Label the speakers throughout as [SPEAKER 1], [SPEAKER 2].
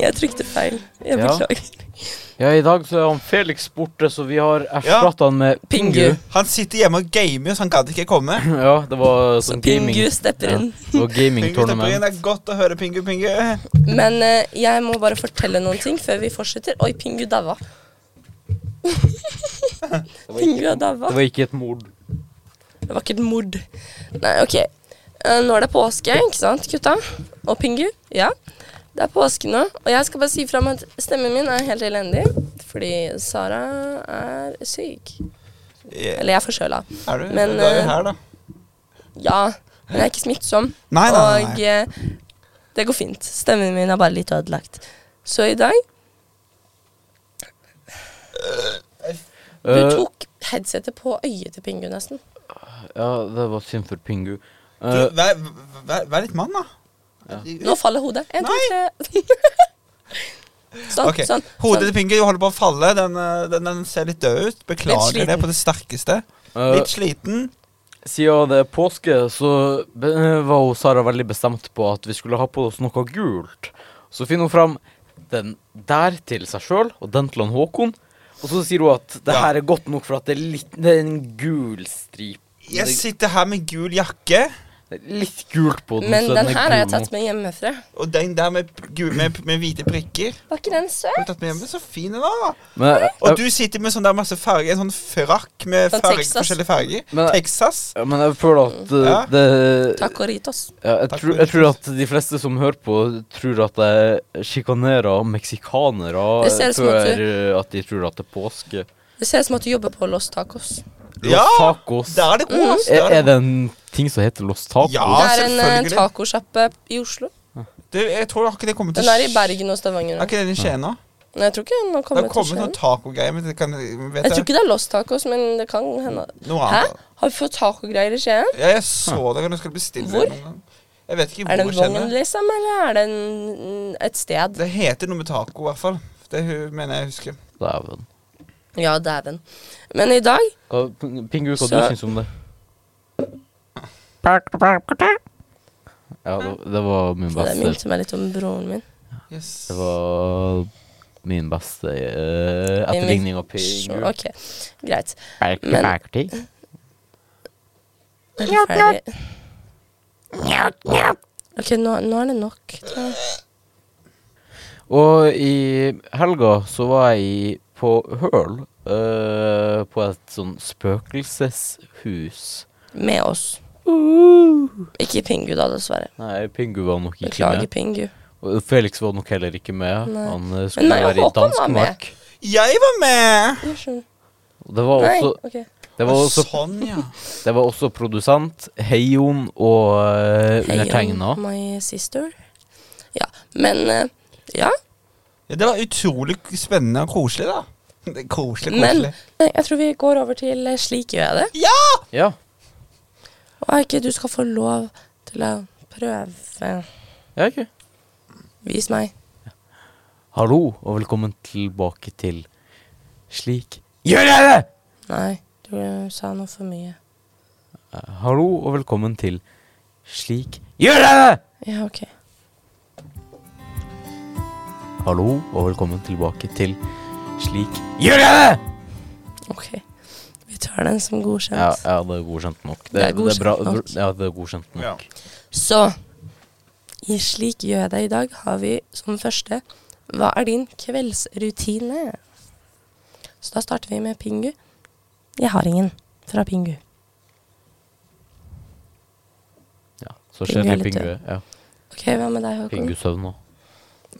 [SPEAKER 1] feil. Jeg
[SPEAKER 2] Ja.
[SPEAKER 1] beklager.
[SPEAKER 2] Ja, i dag så er han Felix borte, så vi har erstatta han med
[SPEAKER 1] Pingu.
[SPEAKER 3] Han sitter hjemme og gamer, så han gadd ikke komme.
[SPEAKER 2] Ja, det var
[SPEAKER 1] Så
[SPEAKER 2] sånn gaming.
[SPEAKER 1] Pingu stepper
[SPEAKER 2] Ja.
[SPEAKER 1] inn.
[SPEAKER 2] Det var gaming
[SPEAKER 3] Pingu stepper inn,
[SPEAKER 2] tournament.
[SPEAKER 3] det er godt å høre Pingu Pingu.
[SPEAKER 1] Men eh, jeg må bare fortelle noen ting før vi fortsetter. Oi, Pingu daua. Pingu er daua.
[SPEAKER 2] Det var ikke et mord.
[SPEAKER 1] Det var ikke et mord. Nei, OK. Eh, Nå er det påske, ikke sant, gutta? Og Pingu? Ja. Det er påske nå, og jeg skal bare si fra om at stemmen min er helt elendig. Fordi Sara er syk.
[SPEAKER 3] Er
[SPEAKER 1] Eller jeg er forkjøla.
[SPEAKER 3] du?
[SPEAKER 1] Men,
[SPEAKER 3] du Eh, er jo
[SPEAKER 1] eh,
[SPEAKER 3] her, da.
[SPEAKER 1] Ja, men jeg er ikke smittsom.
[SPEAKER 3] Nei, nei, nei,
[SPEAKER 1] Og
[SPEAKER 3] nei.
[SPEAKER 1] eh, det går fint. Stemmen min er bare litt ødelagt. Så i dag Du
[SPEAKER 2] Eh,
[SPEAKER 1] tok headsetet på øyet til Pingu, nesten.
[SPEAKER 2] ja, det var synd for Pingu. Eh,
[SPEAKER 3] Du, vær, vær, vær litt mann, da.
[SPEAKER 1] Nå faller hodet. En, to, tre. sånn.
[SPEAKER 3] Ok,
[SPEAKER 1] sånn.
[SPEAKER 3] Hodet
[SPEAKER 1] sånn.
[SPEAKER 3] til Pingu holder på å falle. Den, eh, den, den ser litt død ut. Beklager
[SPEAKER 1] Litt sliten.
[SPEAKER 3] det på det sterkeste.
[SPEAKER 2] eh,
[SPEAKER 3] Litt sliten.
[SPEAKER 2] siden det er påske, så be eh, var hun Sara veldig bestemt på at vi skulle ha på oss noe gult. Så finner hun fram den der til seg sjøl, og den til han Håkon. Og så sier hun at det
[SPEAKER 3] Ja.
[SPEAKER 2] her er godt nok for at det er, litt, det er en gul stripe.
[SPEAKER 3] Jeg sitter her med gul jakke,
[SPEAKER 2] Det er litt gult på den.
[SPEAKER 1] Men
[SPEAKER 2] så
[SPEAKER 1] den
[SPEAKER 2] er
[SPEAKER 1] her har jeg
[SPEAKER 2] gul
[SPEAKER 1] tatt
[SPEAKER 2] nå.
[SPEAKER 1] med hjemmefra.
[SPEAKER 3] og den der med, gul, med, med hvite prikker.
[SPEAKER 1] Var ikke den
[SPEAKER 3] Har
[SPEAKER 1] søt?
[SPEAKER 3] du tatt med hjem? Så fin den var, da.
[SPEAKER 2] Men,
[SPEAKER 3] Og du sitter med sånn der masse farger, en sånn frakk med
[SPEAKER 1] Sånn
[SPEAKER 3] farg,
[SPEAKER 1] Texas.
[SPEAKER 3] forskjellige farger.
[SPEAKER 2] Men-
[SPEAKER 3] Texas.
[SPEAKER 2] Ja, men jeg føler at uh,
[SPEAKER 3] Ja.
[SPEAKER 2] det
[SPEAKER 1] Takk og rit oss.
[SPEAKER 2] ja, jeg,
[SPEAKER 3] Takk
[SPEAKER 2] tror,
[SPEAKER 3] for
[SPEAKER 2] jeg tror at de fleste som hører på, tror at jeg sjikanerer meksikanere
[SPEAKER 1] Det ser ut som
[SPEAKER 2] før
[SPEAKER 1] at
[SPEAKER 2] uh, at de tror at det er påske.
[SPEAKER 1] Det ser ut som at du jobber på Los Tacos.
[SPEAKER 2] Los
[SPEAKER 3] Ja!
[SPEAKER 2] tacos.
[SPEAKER 3] Der er det kos.
[SPEAKER 2] Er,
[SPEAKER 3] Der
[SPEAKER 2] er det en ting som heter los tacos?
[SPEAKER 3] Ja.
[SPEAKER 1] det er en eh,
[SPEAKER 3] selvfølgelig.
[SPEAKER 1] tacosjappe i Oslo.
[SPEAKER 3] Du, jeg tror akkurat det kommer til
[SPEAKER 1] Den er i
[SPEAKER 3] Sk-
[SPEAKER 1] Bergen og Stavanger.
[SPEAKER 3] Er
[SPEAKER 1] nå.
[SPEAKER 3] ikke den i Skien nå?
[SPEAKER 1] Nei, Jeg tror ikke den har
[SPEAKER 3] Det har
[SPEAKER 1] kommet til
[SPEAKER 3] kommet
[SPEAKER 1] Skien.
[SPEAKER 3] noen tacogreier, men det kan vet
[SPEAKER 1] Jeg tror ikke det er Los Tacos, men det kan hende.
[SPEAKER 3] Noe
[SPEAKER 1] Hæ?
[SPEAKER 3] annet.
[SPEAKER 1] Har vi fått tacogreier i Skien?
[SPEAKER 3] Ja, jeg så det når du skulle bestille
[SPEAKER 1] Hvor?
[SPEAKER 3] det noen gang. Jeg vet ikke
[SPEAKER 1] Er det
[SPEAKER 3] hvor
[SPEAKER 1] en
[SPEAKER 3] Skien
[SPEAKER 1] vogn,
[SPEAKER 3] er.
[SPEAKER 1] liksom, eller er det en, et sted?
[SPEAKER 3] Det heter noe med taco, i hvert fall. Det hu- mener jeg husker.
[SPEAKER 2] Dæven.
[SPEAKER 1] Ja, dæven. Men i dag
[SPEAKER 2] Hva- Pingu, hva du
[SPEAKER 1] Så-
[SPEAKER 2] syns om det? Ja, det, det var min
[SPEAKER 1] Det
[SPEAKER 2] beste.
[SPEAKER 1] minte meg litt om broren min.
[SPEAKER 3] Yes.
[SPEAKER 2] Det var min beste uh, etterligning av Pingu.
[SPEAKER 1] Så, ok, greit. Men-
[SPEAKER 2] Men,
[SPEAKER 1] Er du ferdig? Ok, nå, nå er det nok. tror jeg.
[SPEAKER 2] Og i helga så var jeg i- på Høl, eh, på et sånn spøkelseshus.
[SPEAKER 1] Med oss. Ikke Pingu, da, dessverre.
[SPEAKER 2] Nei, Pingu var nok ikke
[SPEAKER 1] Beklager,
[SPEAKER 2] med.
[SPEAKER 1] Pingu.
[SPEAKER 2] Og Felix var nok heller ikke med.
[SPEAKER 1] Nei.
[SPEAKER 2] Han eh, skulle
[SPEAKER 1] meg og
[SPEAKER 2] være i
[SPEAKER 1] Håkon var med.
[SPEAKER 2] danskmark.
[SPEAKER 3] Jeg var med!
[SPEAKER 1] Jeg skjønner.
[SPEAKER 2] Og Det var
[SPEAKER 1] Nei,
[SPEAKER 2] også,
[SPEAKER 1] ok.
[SPEAKER 2] det var også,
[SPEAKER 3] Sånn, ja.
[SPEAKER 2] det var også produsent, Heion og uh,
[SPEAKER 1] Hey,
[SPEAKER 2] undertegna.
[SPEAKER 1] My sister. Ja, men eh, Ja.
[SPEAKER 3] ja. Det var utrolig spennende og koselig, da. Det er Koselig,
[SPEAKER 1] Men
[SPEAKER 3] koselig.
[SPEAKER 1] nei, jeg tror vi går over til eh, Slik gjør jeg det.
[SPEAKER 2] Ja.
[SPEAKER 1] Og Eike, du skal få lov til å prøve.
[SPEAKER 2] ja, ok.
[SPEAKER 1] Vis meg.
[SPEAKER 2] Hallo, og velkommen tilbake til Slik gjør jeg det!
[SPEAKER 1] Nei, du sa noe for mye.
[SPEAKER 2] Eh, Hallo, og velkommen til Slik gjør jeg det!
[SPEAKER 1] Ja, OK.
[SPEAKER 2] Hallo, og velkommen tilbake til Slik gjør jeg det!
[SPEAKER 1] Ok. Vi tar den som godkjent.
[SPEAKER 2] Ja, ja, det er godkjent nok. Det,
[SPEAKER 1] Det er godkjent
[SPEAKER 2] bra,
[SPEAKER 1] nok.
[SPEAKER 2] Ja, det er godkjent nok.
[SPEAKER 3] Ja.
[SPEAKER 1] Så i Slik gjør jeg det i dag har vi som første Hva er din kveldsrutine? Så da starter vi med Pingu. Jeg har ingen fra Pingu.
[SPEAKER 2] Ja, Så
[SPEAKER 1] Pingu er
[SPEAKER 2] skjer det
[SPEAKER 1] litt
[SPEAKER 2] Pingu.
[SPEAKER 1] død.
[SPEAKER 2] Ja,
[SPEAKER 1] Ok, hva med deg, Håkon?
[SPEAKER 2] Pingu søvn nå.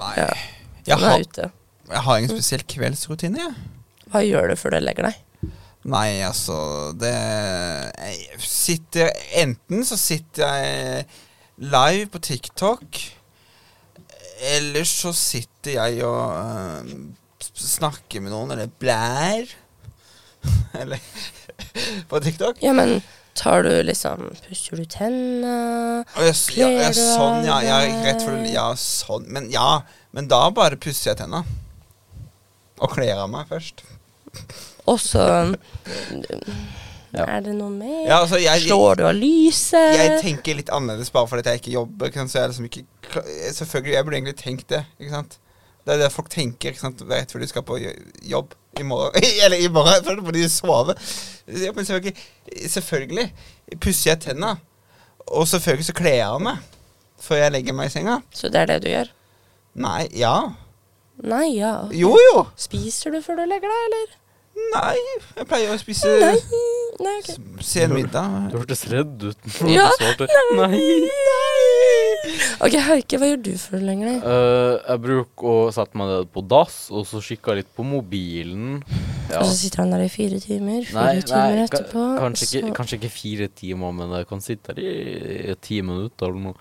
[SPEAKER 3] Nei.
[SPEAKER 1] Ja.
[SPEAKER 3] Jeg
[SPEAKER 1] Hun
[SPEAKER 3] har,
[SPEAKER 1] er ute.
[SPEAKER 3] jeg har ingen spesiell kveldsrutine, jeg.
[SPEAKER 1] Hva gjør du før du legger deg?
[SPEAKER 3] Nei, altså Det jeg sitter Enten så sitter jeg live på TikTok, eller så sitter jeg og øh, s- snakker med noen, eller blær. eller På TikTok.
[SPEAKER 1] Ja, men tar du liksom Pusser du tenna?
[SPEAKER 3] Og jeg, s- ja, ja,
[SPEAKER 1] Kler du
[SPEAKER 3] sånn, ja. ja
[SPEAKER 1] av
[SPEAKER 3] rett for,
[SPEAKER 1] deg?
[SPEAKER 3] ja, sånn. Men ja, men da bare pusser jeg tenna. Og kler av meg først.
[SPEAKER 1] Og så
[SPEAKER 2] Ja.
[SPEAKER 1] Er det noe mer?
[SPEAKER 3] Ja, altså, jeg, jeg,
[SPEAKER 1] Slår du av lyset?
[SPEAKER 3] jeg tenker litt annerledes bare fordi at jeg ikke jobber. Ikke sant? Så jeg er liksom ikke kla- Selvfølgelig, jeg burde egentlig tenkt det. Ikke sant? Det er det folk tenker. ikke sant? Rett før de skal på jo- jobb i morgen. Eller i morgen, for da må de sove. Ja, men selvfølgelig, selvfølgelig pusser jeg tenna. Og selvfølgelig så kler jeg av meg før jeg legger meg i senga.
[SPEAKER 1] Så det er det du gjør?
[SPEAKER 3] Nei, ja.
[SPEAKER 1] Nei, ja.
[SPEAKER 3] Jo jo.
[SPEAKER 1] Spiser du før du legger deg, eller?
[SPEAKER 3] Nei, jeg pleier å spise
[SPEAKER 1] Nei. Nei, ok.
[SPEAKER 3] s- sen middag.
[SPEAKER 2] Du hørtes redd ut. når
[SPEAKER 1] Ja.
[SPEAKER 2] du svarte. Nei.
[SPEAKER 1] Ok, Hauke, hva gjør du før du legger deg?
[SPEAKER 2] Eh, jeg bruker å sette meg ned på dass, og så kikke litt på mobilen. Ja.
[SPEAKER 1] Og så sitter han der i fire timer, fire
[SPEAKER 2] Nei,
[SPEAKER 1] timer
[SPEAKER 2] nei ka-
[SPEAKER 1] etterpå.
[SPEAKER 2] kanskje, ikke,
[SPEAKER 1] så-
[SPEAKER 2] kanskje ikke fire timer, men jeg kan sitte der i ti minutter eller noe.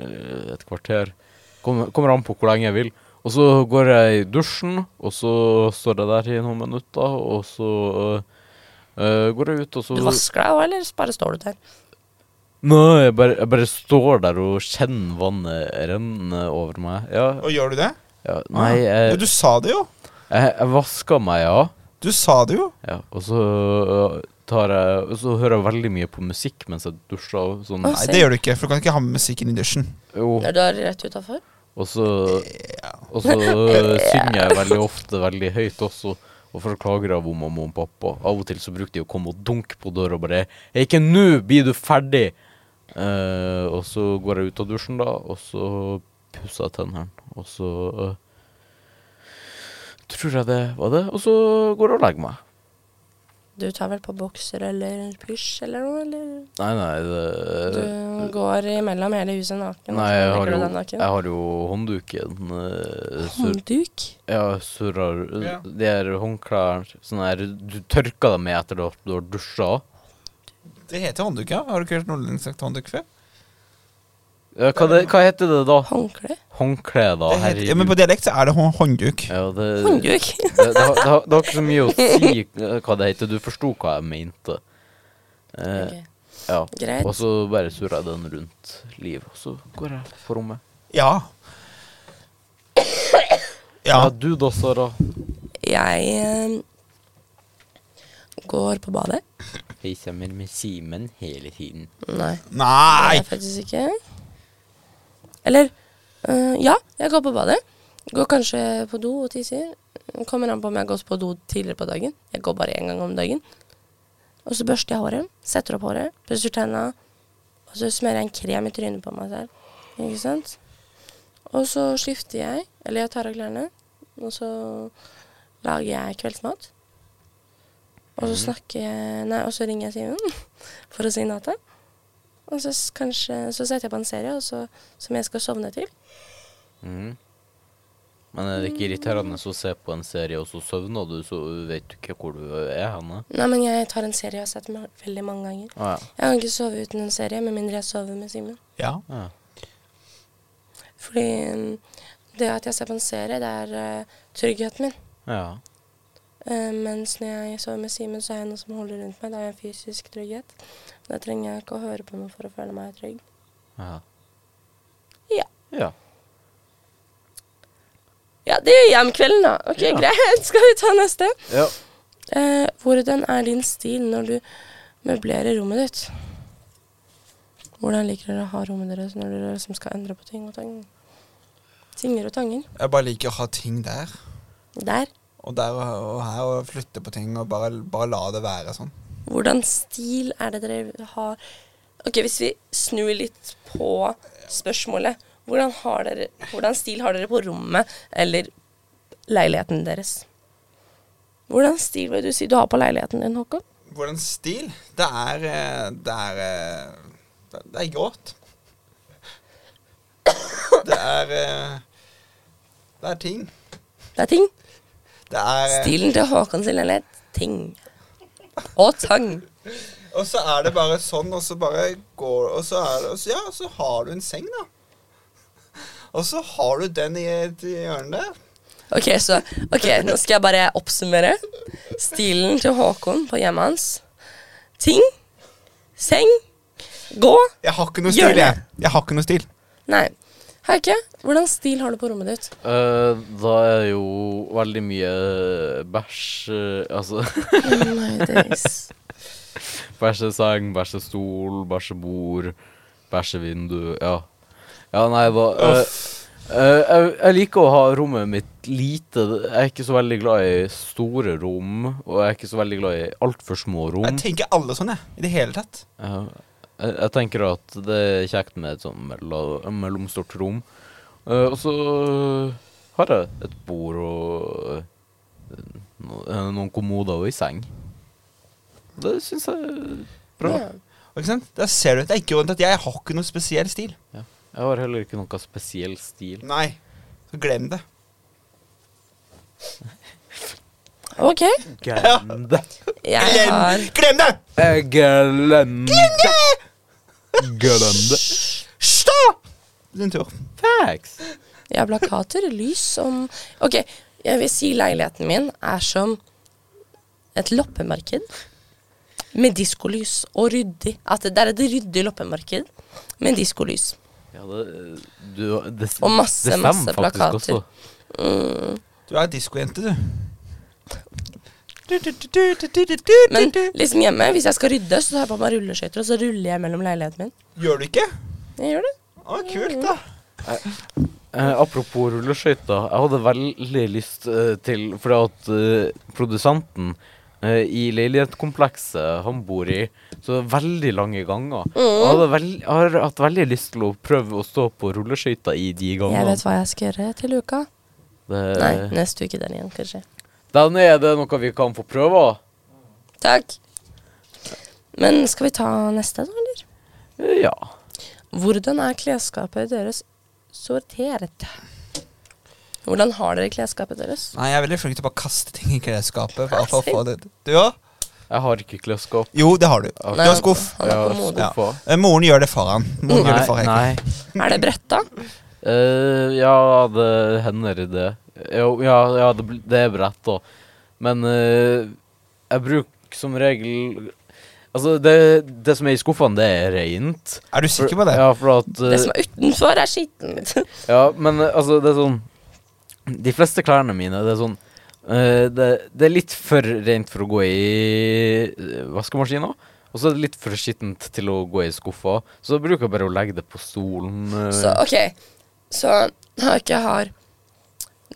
[SPEAKER 2] eh, Et kvarter. Kommer, kommer an på hvor lenge jeg vil. Og så går jeg i dusjen, og så står jeg der i noen minutter, og så eh, eh, går jeg ut, og så
[SPEAKER 1] Du vasker deg òg, eller bare står du der?
[SPEAKER 2] Nei, jeg bare, jeg bare står der og kjenner vannet renne over meg. Ja,
[SPEAKER 3] Og gjør du det?
[SPEAKER 2] ja
[SPEAKER 1] Ah.
[SPEAKER 2] Nei, eh,
[SPEAKER 3] Ja,
[SPEAKER 2] jeg,
[SPEAKER 3] du sa det jo.
[SPEAKER 2] jeg, jeg vasker meg, ja.
[SPEAKER 3] Du sa det jo.
[SPEAKER 2] ja. Og så øh, tar jeg Og så hører jeg veldig mye på musikk mens jeg dusjer. og Sånn.
[SPEAKER 1] Å,
[SPEAKER 3] Nei, det gjør du ikke, for du kan ikke ha med musikken i dusjen.
[SPEAKER 2] Jo.
[SPEAKER 1] Når du er rett utafor?
[SPEAKER 2] Og så, og så eh, synger jeg veldig ofte veldig høyt også. Og forklager av om mamma og pappa. Av og til så bruker de å komme og dunke på døra og bare 'Hei, ikke nå! Blir du ferdig?' Eh, og så går jeg ut av dusjen, da, og så pusser jeg tennene. Og så eh, tror jeg det var det. Og så går jeg og legger meg.
[SPEAKER 1] Du tar vel på bokser eller plysj eller noe, eller?
[SPEAKER 2] Nei, nei, det
[SPEAKER 1] Du går imellom hele huset naken.
[SPEAKER 2] Øh. Nei, jeg har
[SPEAKER 1] jo
[SPEAKER 2] jo,
[SPEAKER 1] den naken.
[SPEAKER 2] jeg har jo håndduken. eh, sur-
[SPEAKER 1] Håndduk?
[SPEAKER 2] Ja, surrer
[SPEAKER 3] Ja.
[SPEAKER 2] De her håndklærne sånn her, Du tørker dem med etter at du har dusja.
[SPEAKER 3] Det heter håndduk, ja. Har du ikke hørt noen sagt håndduk før?
[SPEAKER 2] Ja, hva, det, hva heter det da?
[SPEAKER 1] Håndkle?
[SPEAKER 2] Håndkle, da?
[SPEAKER 3] det heter,
[SPEAKER 2] Herregud.
[SPEAKER 3] ja, men på dialekt så er det hå- håndduk.
[SPEAKER 2] Ja, det, det,
[SPEAKER 1] Håndduk?
[SPEAKER 2] det, har, det, har, det har ikke så mye å si eh, hva det heter. Du forsto hva jeg mente. Eh,
[SPEAKER 1] Ok,
[SPEAKER 2] ja.
[SPEAKER 1] Greit.
[SPEAKER 2] Og så bare surrer jeg den rundt livet, og så går jeg på rommet.
[SPEAKER 3] Ja.
[SPEAKER 2] Ja,
[SPEAKER 3] Ja.
[SPEAKER 2] du da, Sara.
[SPEAKER 1] Jeg eh, går på badet.
[SPEAKER 2] Jeg kommer med Simen hele tiden.
[SPEAKER 1] Nei, det
[SPEAKER 3] Nei!
[SPEAKER 1] er jeg faktisk ikke. Eller eh, Ja, jeg går på badet. Går kanskje på do og tisser. Kommer an på om jeg har gått på do tidligere på dagen. Jeg går bare én gang om dagen. Og så børster jeg håret, setter opp håret, pusser tenna, og så smører jeg en krem i trynet på meg selv. Ikke sant? Og så skifter jeg, eller jeg tar av klærne, og så lager jeg kveldsmat. Og så snakker jeg Nei, og så ringer jeg Simen for å si natta. Og så, s- kanskje, så setter jeg på en serie og så, som jeg skal sovne til.
[SPEAKER 2] Mhm. Men er det ikke irriterende å se på en serie, og så søvner du, så vet du ikke hvor du er henne?
[SPEAKER 1] Nei, men jeg tar en serie jeg har sett meg veldig mange ganger.
[SPEAKER 2] Å ja.
[SPEAKER 1] Jeg kan ikke sove uten en serie, med mindre jeg sover med Simen.
[SPEAKER 3] Ja.
[SPEAKER 2] ja.
[SPEAKER 1] Fordi mm, det at jeg ser på en serie, det er eh, tryggheten min.
[SPEAKER 2] ja.
[SPEAKER 1] Eh, mens når jeg sover med Simen, så er jeg noe som holder rundt meg. Da har jeg fysisk trygghet. Da trenger jeg ikke å høre på noe for å føle meg trygg.
[SPEAKER 2] Ja.
[SPEAKER 1] Ja.
[SPEAKER 2] ja.
[SPEAKER 1] Ja, det gjør jeg om kvelden, da. Ok,
[SPEAKER 2] Ja.
[SPEAKER 1] greit. Skal vi ta neste?
[SPEAKER 2] ja.
[SPEAKER 1] Eh, hvordan er din stil når du møblerer rommet ditt? Hvordan liker dere å ha rommet deres når dere liksom skal endre på ting og tang? Tinger og tanger.
[SPEAKER 3] Jeg bare liker å ha ting der
[SPEAKER 1] Der.
[SPEAKER 3] og der og, og her, og flytte på ting og bare, bare la det være sånn.
[SPEAKER 1] Hvordan stil er det dere har Ok, hvis vi snur litt på spørsmålet. Hvordan, har dere, hvordan stil har dere på rommet eller leiligheten deres? Hvordan stil vil du si du har på leiligheten din, Håkon?
[SPEAKER 3] Hvordan stil? Det er eh, Det er eh, Det det er grått. Det er eh, Det er ting.
[SPEAKER 1] Det er ting.
[SPEAKER 3] Det er eh,
[SPEAKER 1] Stilen til Håkon sin leilighet. Ting. Og tang.
[SPEAKER 3] Og så er det bare sånn, og så bare går Og så er det og så, Ja, så har du en seng, da. Og så har du den i et hjørne der.
[SPEAKER 1] Ok, så Ok, nå skal jeg bare oppsummere. Stilen til Håkon på hjemmet hans. Ting. Seng. Gå.
[SPEAKER 3] Jeg har ikke noe
[SPEAKER 1] Gjør
[SPEAKER 3] stil,
[SPEAKER 1] det.
[SPEAKER 3] jeg. Jeg har ikke noe stil.
[SPEAKER 1] Nei. Hauke, hvordan stil har du på rommet ditt?
[SPEAKER 2] Eh, da er jo veldig mye bæsj eh, Altså bæsjeseng, bæsjestol, bæsjebord, bæsjevindu Ja. Ja, nei, da eh,
[SPEAKER 3] Uff.
[SPEAKER 2] Eh, jeg, jeg liker å ha rommet mitt lite. Jeg er ikke så veldig glad i store rom, og jeg er ikke så veldig glad i altfor små rom.
[SPEAKER 3] Jeg tenker alle sånn, jeg. I det hele tatt.
[SPEAKER 2] Ja, jeg, jeg tenker at det er kjekt med et sånn mello- mellomstort rom. Eh, og så har jeg et bord og eh, no, eh, noen kommoder og ei seng. Det syns jeg er bra.
[SPEAKER 1] Ja.
[SPEAKER 3] Ikke sant? Der ser du. Det er ikke rundt at jeg har ikke noen spesiell stil.
[SPEAKER 2] Jeg har heller ikke noe spesiell stil.
[SPEAKER 3] Nei. Så glem det.
[SPEAKER 1] Ok.
[SPEAKER 2] Glem det!
[SPEAKER 1] Jeg har
[SPEAKER 3] Glem, glem det!
[SPEAKER 2] Jeg Glem det! Glem det.
[SPEAKER 3] Stå! Din tur.
[SPEAKER 2] Facts.
[SPEAKER 1] Jeg har plakater, lys om Ok, jeg vil si leiligheten min er som et loppemarked med diskolys og ryddig. At det er et ryddig loppemarked med diskolys.
[SPEAKER 2] Ja, det, du, det,
[SPEAKER 1] Og masse,
[SPEAKER 2] det stemmer
[SPEAKER 1] masse
[SPEAKER 2] faktisk
[SPEAKER 1] plakater.
[SPEAKER 2] også.
[SPEAKER 3] Du er diskojente, du.
[SPEAKER 1] Men liksom hjemme, hvis jeg skal rydde, så tar jeg på meg rulleskøyter, og så ruller jeg mellom leiligheten min.
[SPEAKER 3] Gjør du ikke?
[SPEAKER 1] Jeg gjør det.
[SPEAKER 3] Å, kult, da.
[SPEAKER 2] Eh, apropos rulleskøyter. Jeg hadde veldig lyst eh, til Fordi at eh, produsenten eh, i leilighetskomplekset han bor i, så er det veldig lange ganger.
[SPEAKER 1] Mm.
[SPEAKER 2] Jeg hadde veld, jeg har hatt veldig lyst til å prøve å stå på rulleskøyter i de
[SPEAKER 1] Jeg
[SPEAKER 2] gangene.
[SPEAKER 1] vet hva jeg skal gjøre til uka. Nei,
[SPEAKER 2] Det,
[SPEAKER 1] neste uke den igjen, kanskje.
[SPEAKER 2] den er det noe vi kan få prøve.
[SPEAKER 1] Takk. Men skal vi ta neste, da, eller?
[SPEAKER 2] Eh, Ja.
[SPEAKER 1] Hvordan er klesskapet deres sortert? Hvordan har dere klesskapet deres?
[SPEAKER 3] Nei, jeg er veldig flink til å bare kaste ting i klesskapet. Bare for å få det. Du òg?
[SPEAKER 2] Jeg har ikke klesskap.
[SPEAKER 3] Jo, det har du. Du
[SPEAKER 1] Nei,
[SPEAKER 3] har skuff.
[SPEAKER 1] Han har
[SPEAKER 2] Jeg har
[SPEAKER 1] kommode.
[SPEAKER 3] Ja.
[SPEAKER 2] skuffa.
[SPEAKER 3] Eh, Moren gjør det for han. Moren gjør det for
[SPEAKER 2] Nei,
[SPEAKER 3] henne.
[SPEAKER 2] nei.
[SPEAKER 1] Er det bretta?
[SPEAKER 2] Eh, ja, det hender det. Jo, ja, ja det, bl- det er brett, da. Men eh, jeg bruker som regel Altså, det, det som er i skuffene, det er rent.
[SPEAKER 3] Er du
[SPEAKER 2] For-
[SPEAKER 3] sikker på det?
[SPEAKER 2] Ja, for at eh,
[SPEAKER 1] Det som er utenfor, er skittent.
[SPEAKER 2] Ja, men eh, altså, det er sånn De fleste klærne mine, det er sånn eh, det, det er litt for rent for å gå i eh, vaskemaskina. Og så er det litt for skittent til å gå i skuffa. Så da bruker jeg bare å legge det på stolen. eh.
[SPEAKER 1] Så OK. Så når jeg ikke har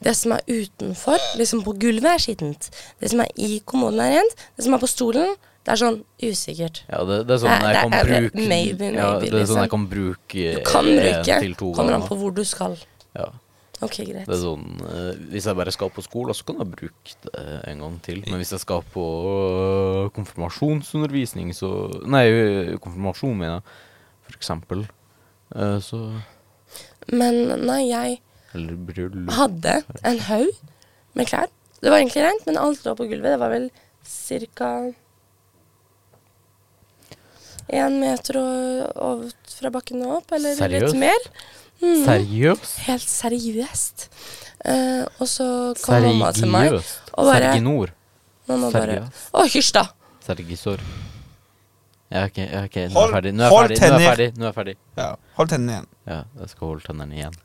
[SPEAKER 1] Det som er utenfor, liksom på gulvet, er skittent. Det som er i kommoden, er rent. Det som er på stolen, det er sånn usikkert.
[SPEAKER 2] Ja, det, det er sånn
[SPEAKER 1] Nei,
[SPEAKER 2] jeg
[SPEAKER 1] det
[SPEAKER 2] kan
[SPEAKER 1] er det.
[SPEAKER 2] bruke
[SPEAKER 1] Maybe,
[SPEAKER 2] ja, Det
[SPEAKER 1] maybe,
[SPEAKER 2] er sånn
[SPEAKER 1] liksom.
[SPEAKER 2] jeg kan bruke
[SPEAKER 1] Du kan
[SPEAKER 2] en
[SPEAKER 1] bruke.
[SPEAKER 2] Eh, til to
[SPEAKER 1] Kommer an
[SPEAKER 2] ganger.
[SPEAKER 1] på hvor du skal.
[SPEAKER 2] Ja,
[SPEAKER 1] OK, greit.
[SPEAKER 2] det er sånn eh, Hvis jeg bare skal på skolen, så kan jeg bruke det en gang til. Men hvis jeg skal på øh, konfirmasjonsundervisning, så Nei, øh, konfirmasjon, mener jeg, for eksempel. eh, så
[SPEAKER 1] Men nei, jeg
[SPEAKER 2] Eller bryllup.
[SPEAKER 1] hadde en haug med klær. Det var egentlig rent, men alt lå på gulvet. Det var vel cirka én meter og, og fra bakken og opp, eller
[SPEAKER 2] Seriøst?
[SPEAKER 1] litt mer. Mhm.
[SPEAKER 2] Seriøst?
[SPEAKER 1] Helt seriøst. Eh, og så kom mamma til meg
[SPEAKER 2] Seriøst?
[SPEAKER 1] og bare
[SPEAKER 2] Serginor?
[SPEAKER 1] Mamma bare
[SPEAKER 2] Seriøst?
[SPEAKER 1] Å, hysj, da!
[SPEAKER 2] Sergisor? Ja, OK, ja, ok, nå er jeg
[SPEAKER 3] Hold-
[SPEAKER 2] ferdig. Nå er jeg
[SPEAKER 3] hold
[SPEAKER 2] ferdig. Nå er jeg
[SPEAKER 3] tenner.
[SPEAKER 2] ferdig. Nå er jeg ferdig.
[SPEAKER 3] Ja. Hold tennene igjen.
[SPEAKER 2] Ja, jeg skal holde tennene igjen.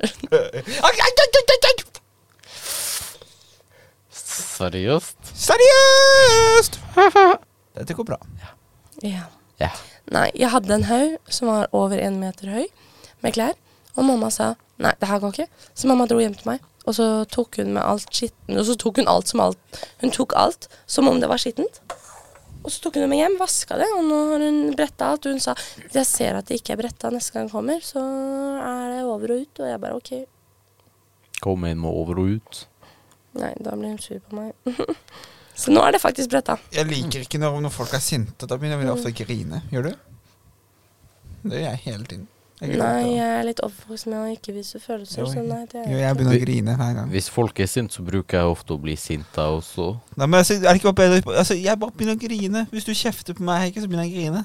[SPEAKER 3] Ai, ai, ai, ai, ai, ai.
[SPEAKER 2] Seriøst?
[SPEAKER 3] Seriøst! Dette går bra.
[SPEAKER 1] Ja.
[SPEAKER 2] Ja.
[SPEAKER 1] Nei, jeg hadde en haug som var over en meter høy med klær. Og mamma sa nei, det her går ikke. Så mamma dro hjem til meg. Og så tok hun med alt skitten, og så tok hun alt som alt. Hun tok alt som om det var skittent. Og så tok hun det med hjem, vaska det, og nå har hun bretta alt. Og hun sa jeg ser at det ikke er bretta neste gang jeg kommer, så er det over og ut. Og jeg bare OK.
[SPEAKER 2] Kom inn med over og ut.
[SPEAKER 1] Nei, da ble hun sur på meg. så nå er det faktisk bretta.
[SPEAKER 3] Jeg liker ikke når, når folk er sinte. Da begynner jeg ofte å grine. Gjør du? Det gjør jeg hele tiden. Jeg gråter.
[SPEAKER 1] Nei, jeg er litt oppvokst med å ikke vise følelser, så nei, det
[SPEAKER 3] Jo,
[SPEAKER 1] er
[SPEAKER 3] jeg begynner å grine hver gang.
[SPEAKER 2] Hvis folk er sint, så bruker jeg ofte å bli sint, jeg også.
[SPEAKER 3] Nei, men altså, er det ikke bare bedre altså, Jeg bare begynner å grine. Hvis du kjefter på meg, Heike, så begynner jeg å grine.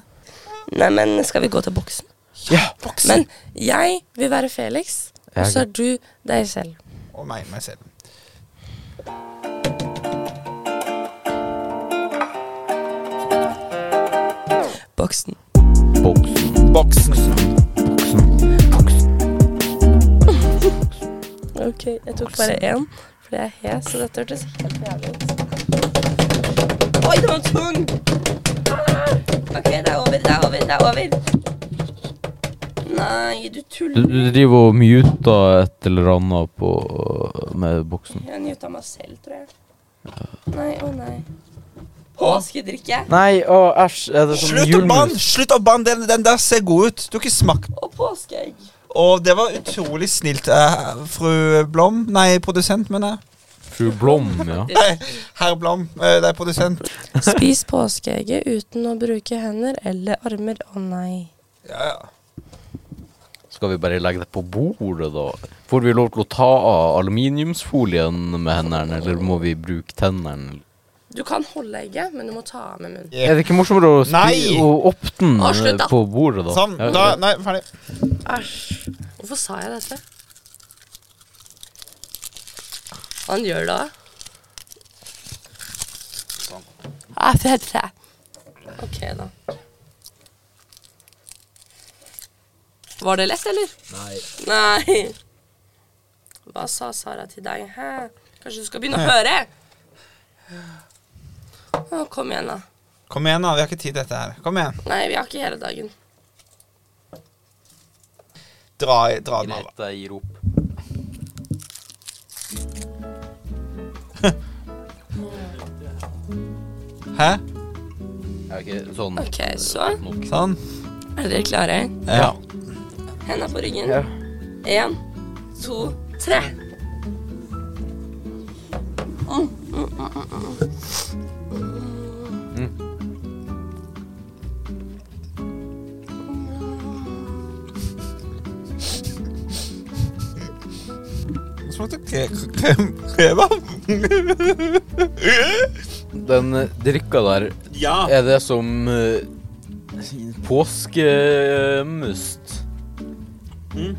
[SPEAKER 1] Nei, men skal vi gå til boksen?
[SPEAKER 3] Ja, boksen!
[SPEAKER 1] Men jeg vil være Felix, og så er du deg selv.
[SPEAKER 3] Og meg, meg selv.
[SPEAKER 1] Boksen.
[SPEAKER 2] Boksen.
[SPEAKER 3] Boksen.
[SPEAKER 1] Ok, jeg tok bare én, fordi jeg er hes, så dette hørtes helt jævlig ut. Oi, den var tung! Ah! Ok, det er over, det er over, det er over. Nei, du
[SPEAKER 2] Du,
[SPEAKER 1] tuller.
[SPEAKER 2] du driver og muter et eller annet på, med boksen.
[SPEAKER 1] Jeg nyter meg selv, tror jeg. Nei, å nei. Påskedrikke.
[SPEAKER 2] Nei, å æsj. Er det sånn
[SPEAKER 3] Slutt å banne! Slutt å banne! Den, den der ser god ut. Du har ikke smakt
[SPEAKER 1] Og påskeegg.
[SPEAKER 3] Og det var utrolig snilt, eh, fru Blom. Nei, produsent, mener jeg.
[SPEAKER 2] Fru Blom, ja.
[SPEAKER 3] Nei, herr Blom. Eh, det er produsent.
[SPEAKER 1] Spis påskeegget uten å bruke hender eller armer. Å nei.
[SPEAKER 3] Ja, ja.
[SPEAKER 2] Skal vi bare legge det på bordet, da? Får vi lov til å ta av aluminiumsfolien med hendene, eller må vi bruke tennene?
[SPEAKER 1] Du kan holde egget, men du må ta av med munnen.
[SPEAKER 2] Er det ikke morsommere å
[SPEAKER 3] Nei!
[SPEAKER 2] spi og åpne den
[SPEAKER 1] Å, slutt,
[SPEAKER 2] eh,
[SPEAKER 1] da.
[SPEAKER 2] på bordet, da?
[SPEAKER 3] Sånn.
[SPEAKER 2] Ja,
[SPEAKER 3] Da,
[SPEAKER 2] ja.
[SPEAKER 3] nei, ferdig.
[SPEAKER 1] Æsj. Hvorfor sa jeg dette? Han gjør det òg. Jeg fedrer. OK, da. Var det lett, eller? Nei. Nei. Hva sa Sara til deg? Hæ? Kanskje du skal begynne å høre? Å, kom igjen, da.
[SPEAKER 3] Kom igjen, da. Vi har ikke tid til dette her. Kom igjen.
[SPEAKER 1] Nei, vi har ikke hele dagen.
[SPEAKER 3] Dra, i- dra den av. da.
[SPEAKER 2] Greit, jeg gir opp.
[SPEAKER 3] Hæ?
[SPEAKER 2] Ja, ok, sånn.
[SPEAKER 1] OK, så
[SPEAKER 2] Nok.
[SPEAKER 3] Sånn.
[SPEAKER 1] er dere klare?
[SPEAKER 3] Ja.
[SPEAKER 1] Henda på ryggen. Én, to, tre. Mm.
[SPEAKER 3] Mm. Det smakte kre- kre- krem- kebab.
[SPEAKER 2] Den eh, drikka der,
[SPEAKER 3] ja.
[SPEAKER 2] er det som eh, påskemust?
[SPEAKER 3] Mm.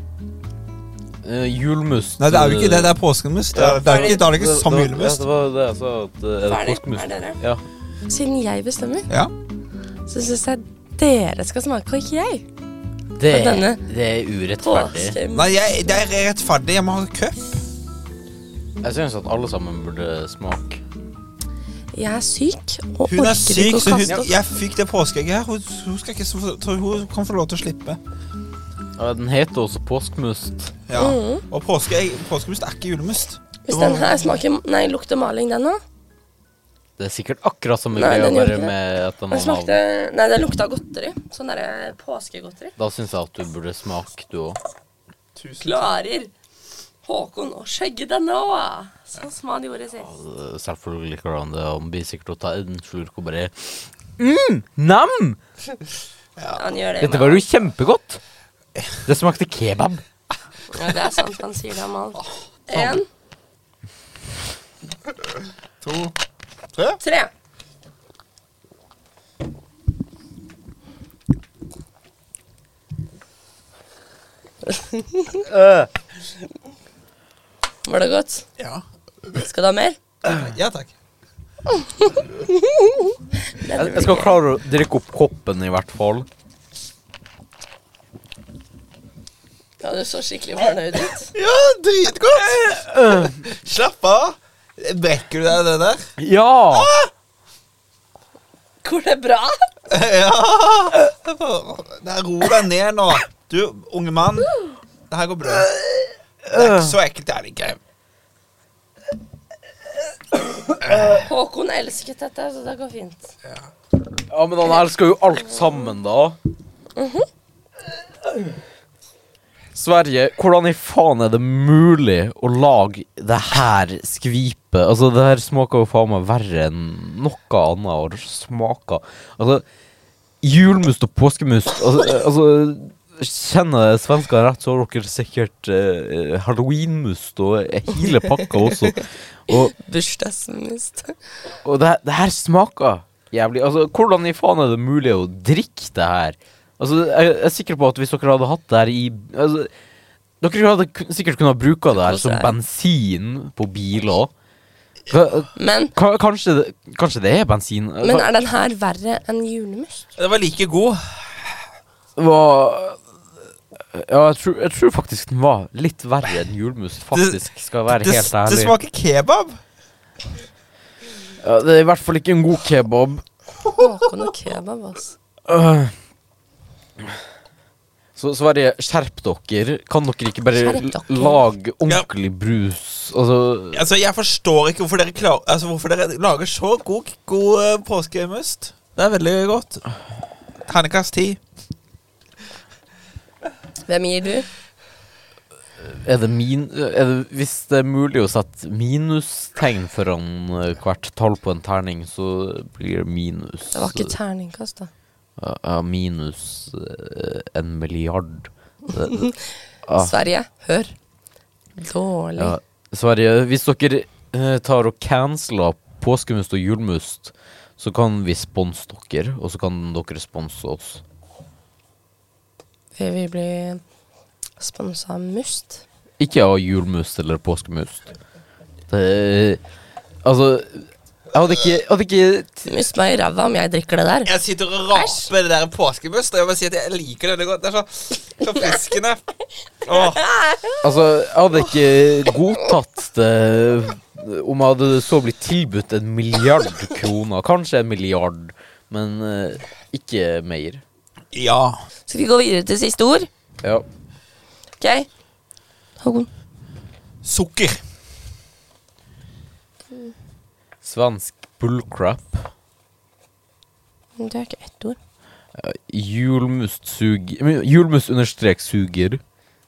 [SPEAKER 2] Eh, julmust.
[SPEAKER 3] Nei, det er jo ikke det.
[SPEAKER 2] eh,
[SPEAKER 3] Det er påskemus. Det er,
[SPEAKER 2] Ja,
[SPEAKER 3] det er ikke, da er det ikke
[SPEAKER 2] det-
[SPEAKER 3] som
[SPEAKER 2] det- Ja,
[SPEAKER 3] julemust.
[SPEAKER 2] det var det jeg sa. At, eh, er det
[SPEAKER 1] Ferdig.
[SPEAKER 2] påskemust?
[SPEAKER 1] Er dere?
[SPEAKER 2] Ja.
[SPEAKER 1] Siden jeg bestemmer,
[SPEAKER 3] Ja.
[SPEAKER 1] så syns jeg dere skal smake, og ikke jeg.
[SPEAKER 2] Det,
[SPEAKER 1] Og denne?
[SPEAKER 2] er urettferdig.
[SPEAKER 1] Påske.
[SPEAKER 3] Nei, jeg, det er rettferdig. Jeg må ha cup.
[SPEAKER 2] Jeg syns at alle sammen burde smake.
[SPEAKER 1] Jeg er syk og
[SPEAKER 3] Hun
[SPEAKER 1] orker
[SPEAKER 3] er syk,
[SPEAKER 1] ikke å
[SPEAKER 3] så hun,
[SPEAKER 1] kaste opp.
[SPEAKER 3] jeg fikk det påskeegget her. Hun, hun, skal ikke, så- tror hun kan få lov til å slippe.
[SPEAKER 2] Ja, den heter også påskmust.
[SPEAKER 3] Ja. Og påskeegg, påskemust er ikke julemust.
[SPEAKER 1] Hvis den her smaker Nei, lukter maling, den òg.
[SPEAKER 2] Det er sikkert akkurat samme
[SPEAKER 1] Nei,
[SPEAKER 2] greia,
[SPEAKER 1] den gjør
[SPEAKER 2] bare
[SPEAKER 1] ikke det.
[SPEAKER 2] med at den
[SPEAKER 1] Den
[SPEAKER 2] har
[SPEAKER 1] smakte
[SPEAKER 2] navn.
[SPEAKER 1] Nei, den lukta godteri. Sånn derre påskegodteri.
[SPEAKER 2] Da syns jeg at du burde smake, du òg.
[SPEAKER 1] Klarer Håkon å skjegge denne òg, sånn som han gjorde sist.
[SPEAKER 2] eh, Selvfølgelig klarer han det. Han blir sikkert å ta en slurk og bare mm, Nam!
[SPEAKER 1] Han gjør det.
[SPEAKER 2] Dette
[SPEAKER 1] med-
[SPEAKER 2] var jo kjempegodt. Det smakte kebab.
[SPEAKER 1] Ja, det er sant, han sier det om alt. Én,
[SPEAKER 3] To, tre.
[SPEAKER 1] tre.
[SPEAKER 2] Øh.
[SPEAKER 1] Var det godt?
[SPEAKER 3] Ja.
[SPEAKER 1] Skal du ha mer?
[SPEAKER 3] ja takk.
[SPEAKER 2] Jeg jeg skal klare å drikke opp koppen, i hvert fall.
[SPEAKER 1] Ja, du så skikkelig fornøyd ut.
[SPEAKER 3] Ja, dritgodt!
[SPEAKER 2] Øh,
[SPEAKER 3] Slapp av. Brekker du deg det der?
[SPEAKER 2] Ja!
[SPEAKER 1] Går det bra?
[SPEAKER 3] ja! Nei, ro deg ned nå. Du, unge mann. Det her går bra. Det er ikke så ekkelt, det er det ikke.
[SPEAKER 1] Håkon elsket dette, så det går fint.
[SPEAKER 2] Ja, men han elsker jo alt sammen, da. Sverige, hvordan i faen er det mulig å lage det her skvipet? Altså, det her smaker jo faen meg verre enn noe annet. Og det smaker Altså, julmust og påskemust Altså, eh, altså Kjenner dere svenskene rett, så har dere sikkert eh, halloweenmust og hele pakka også. Og
[SPEAKER 1] Bursdagsmist.
[SPEAKER 2] og det, her- det her smaker jævlig Altså, hvordan i faen er det mulig å drikke det her? Altså, jeg, jeg er sikker på at hvis dere hadde hatt det her i altså, Dere hadde kun- sikkert kunnet bruke det her som
[SPEAKER 1] Kose her.
[SPEAKER 2] bensin på biler. Ka-
[SPEAKER 1] Men,
[SPEAKER 2] ka- Kanskje, det- kanskje det er bensin?
[SPEAKER 1] men er den her verre enn julemust?
[SPEAKER 3] Det var like god.
[SPEAKER 2] Hva- Ja, jeg tror, jeg tror faktisk den var litt verre enn julmust, faktisk. Skal jeg være
[SPEAKER 3] Det,
[SPEAKER 2] helt
[SPEAKER 3] det
[SPEAKER 2] ærlig.
[SPEAKER 3] smaker kebab.
[SPEAKER 2] Ja, det er i hvert fall ikke en god kebab.
[SPEAKER 1] Håkon og kebab, altså.
[SPEAKER 2] Øh. Så Sverige, skjerp dere. Kan dere ikke bare
[SPEAKER 1] Skjerp dere.
[SPEAKER 2] l- lage ordentlig brus? Altså
[SPEAKER 3] Altså, jeg forstår ikke hvorfor dere, klar, altså, hvorfor dere lager så god, god eh, påskemust. Det er veldig godt. Ternekast ti.
[SPEAKER 1] Hvem gir du?
[SPEAKER 2] er det min er det, Hvis det er mulig å sette minustegn foran eh, hvert tall på en terning, så blir det minus.
[SPEAKER 1] Det var ikke terningkast, da.
[SPEAKER 2] Ja, ja, minus eh, en milliard. Det- Ah.
[SPEAKER 1] Sverige, hør. Dårlig.
[SPEAKER 2] Ja, Sverige, hvis dere eh, tar og canceler påskemust og julmust, så kan vi sponse dere, og så kan dere sponse oss.
[SPEAKER 1] Vil vi bli sponsa av Must?
[SPEAKER 2] Ikke av julmust eller påskemust. Det Altså, jeg hadde ikke, jeg hadde ikke t-
[SPEAKER 1] Must meg i ræva om jeg drikker det der.
[SPEAKER 3] Jeg sitter og raper det der påskemust, og jeg må si at jeg liker det veldig godt. Det er så forfriskende. Åh,
[SPEAKER 2] Altså, jeg hadde ikke godtatt det om jeg hadde så blitt tilbudt en milliard kroner. Kanskje en milliard, men eh, ikke mer.
[SPEAKER 3] ja.
[SPEAKER 1] Skal vi gå videre til siste ord?
[SPEAKER 2] Ja.
[SPEAKER 1] Ok? Håkon.
[SPEAKER 3] Sukker.
[SPEAKER 2] Svensk bullcrap.
[SPEAKER 1] Det er ikke ett ord.
[SPEAKER 2] Julmust sug... Julmust understrek suger.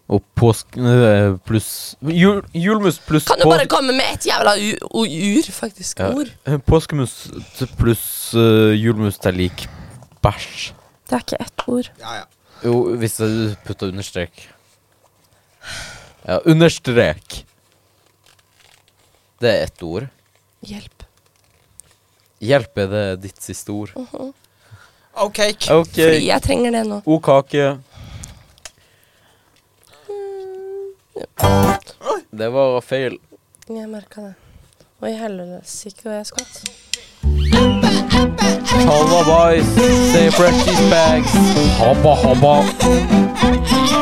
[SPEAKER 2] Og påsk... eh, pluss jul, Julmust pluss
[SPEAKER 1] Kan du
[SPEAKER 2] på-
[SPEAKER 1] bare komme med et jævla u- o- ur, faktisk?
[SPEAKER 2] Ja.
[SPEAKER 1] Ord.
[SPEAKER 2] Eh, Påskemus t- pluss uh, julmus er lik bæsj.
[SPEAKER 1] Det er ikke ett ord.
[SPEAKER 3] Ja, ja.
[SPEAKER 2] Jo, hvis jeg putter understrek. Ja, understrek. Det er ett ord.
[SPEAKER 1] Hjelp.
[SPEAKER 2] Hjelp er det ditt siste ord.
[SPEAKER 3] OK.
[SPEAKER 2] OK.
[SPEAKER 1] Fordi jeg trenger det nå.
[SPEAKER 2] O kake. Det var feil.
[SPEAKER 1] Jeg merka det. Oi, helsike, og jeg skvatt.
[SPEAKER 2] Halla, boys. Say precious bags. Hoppa, hoppa.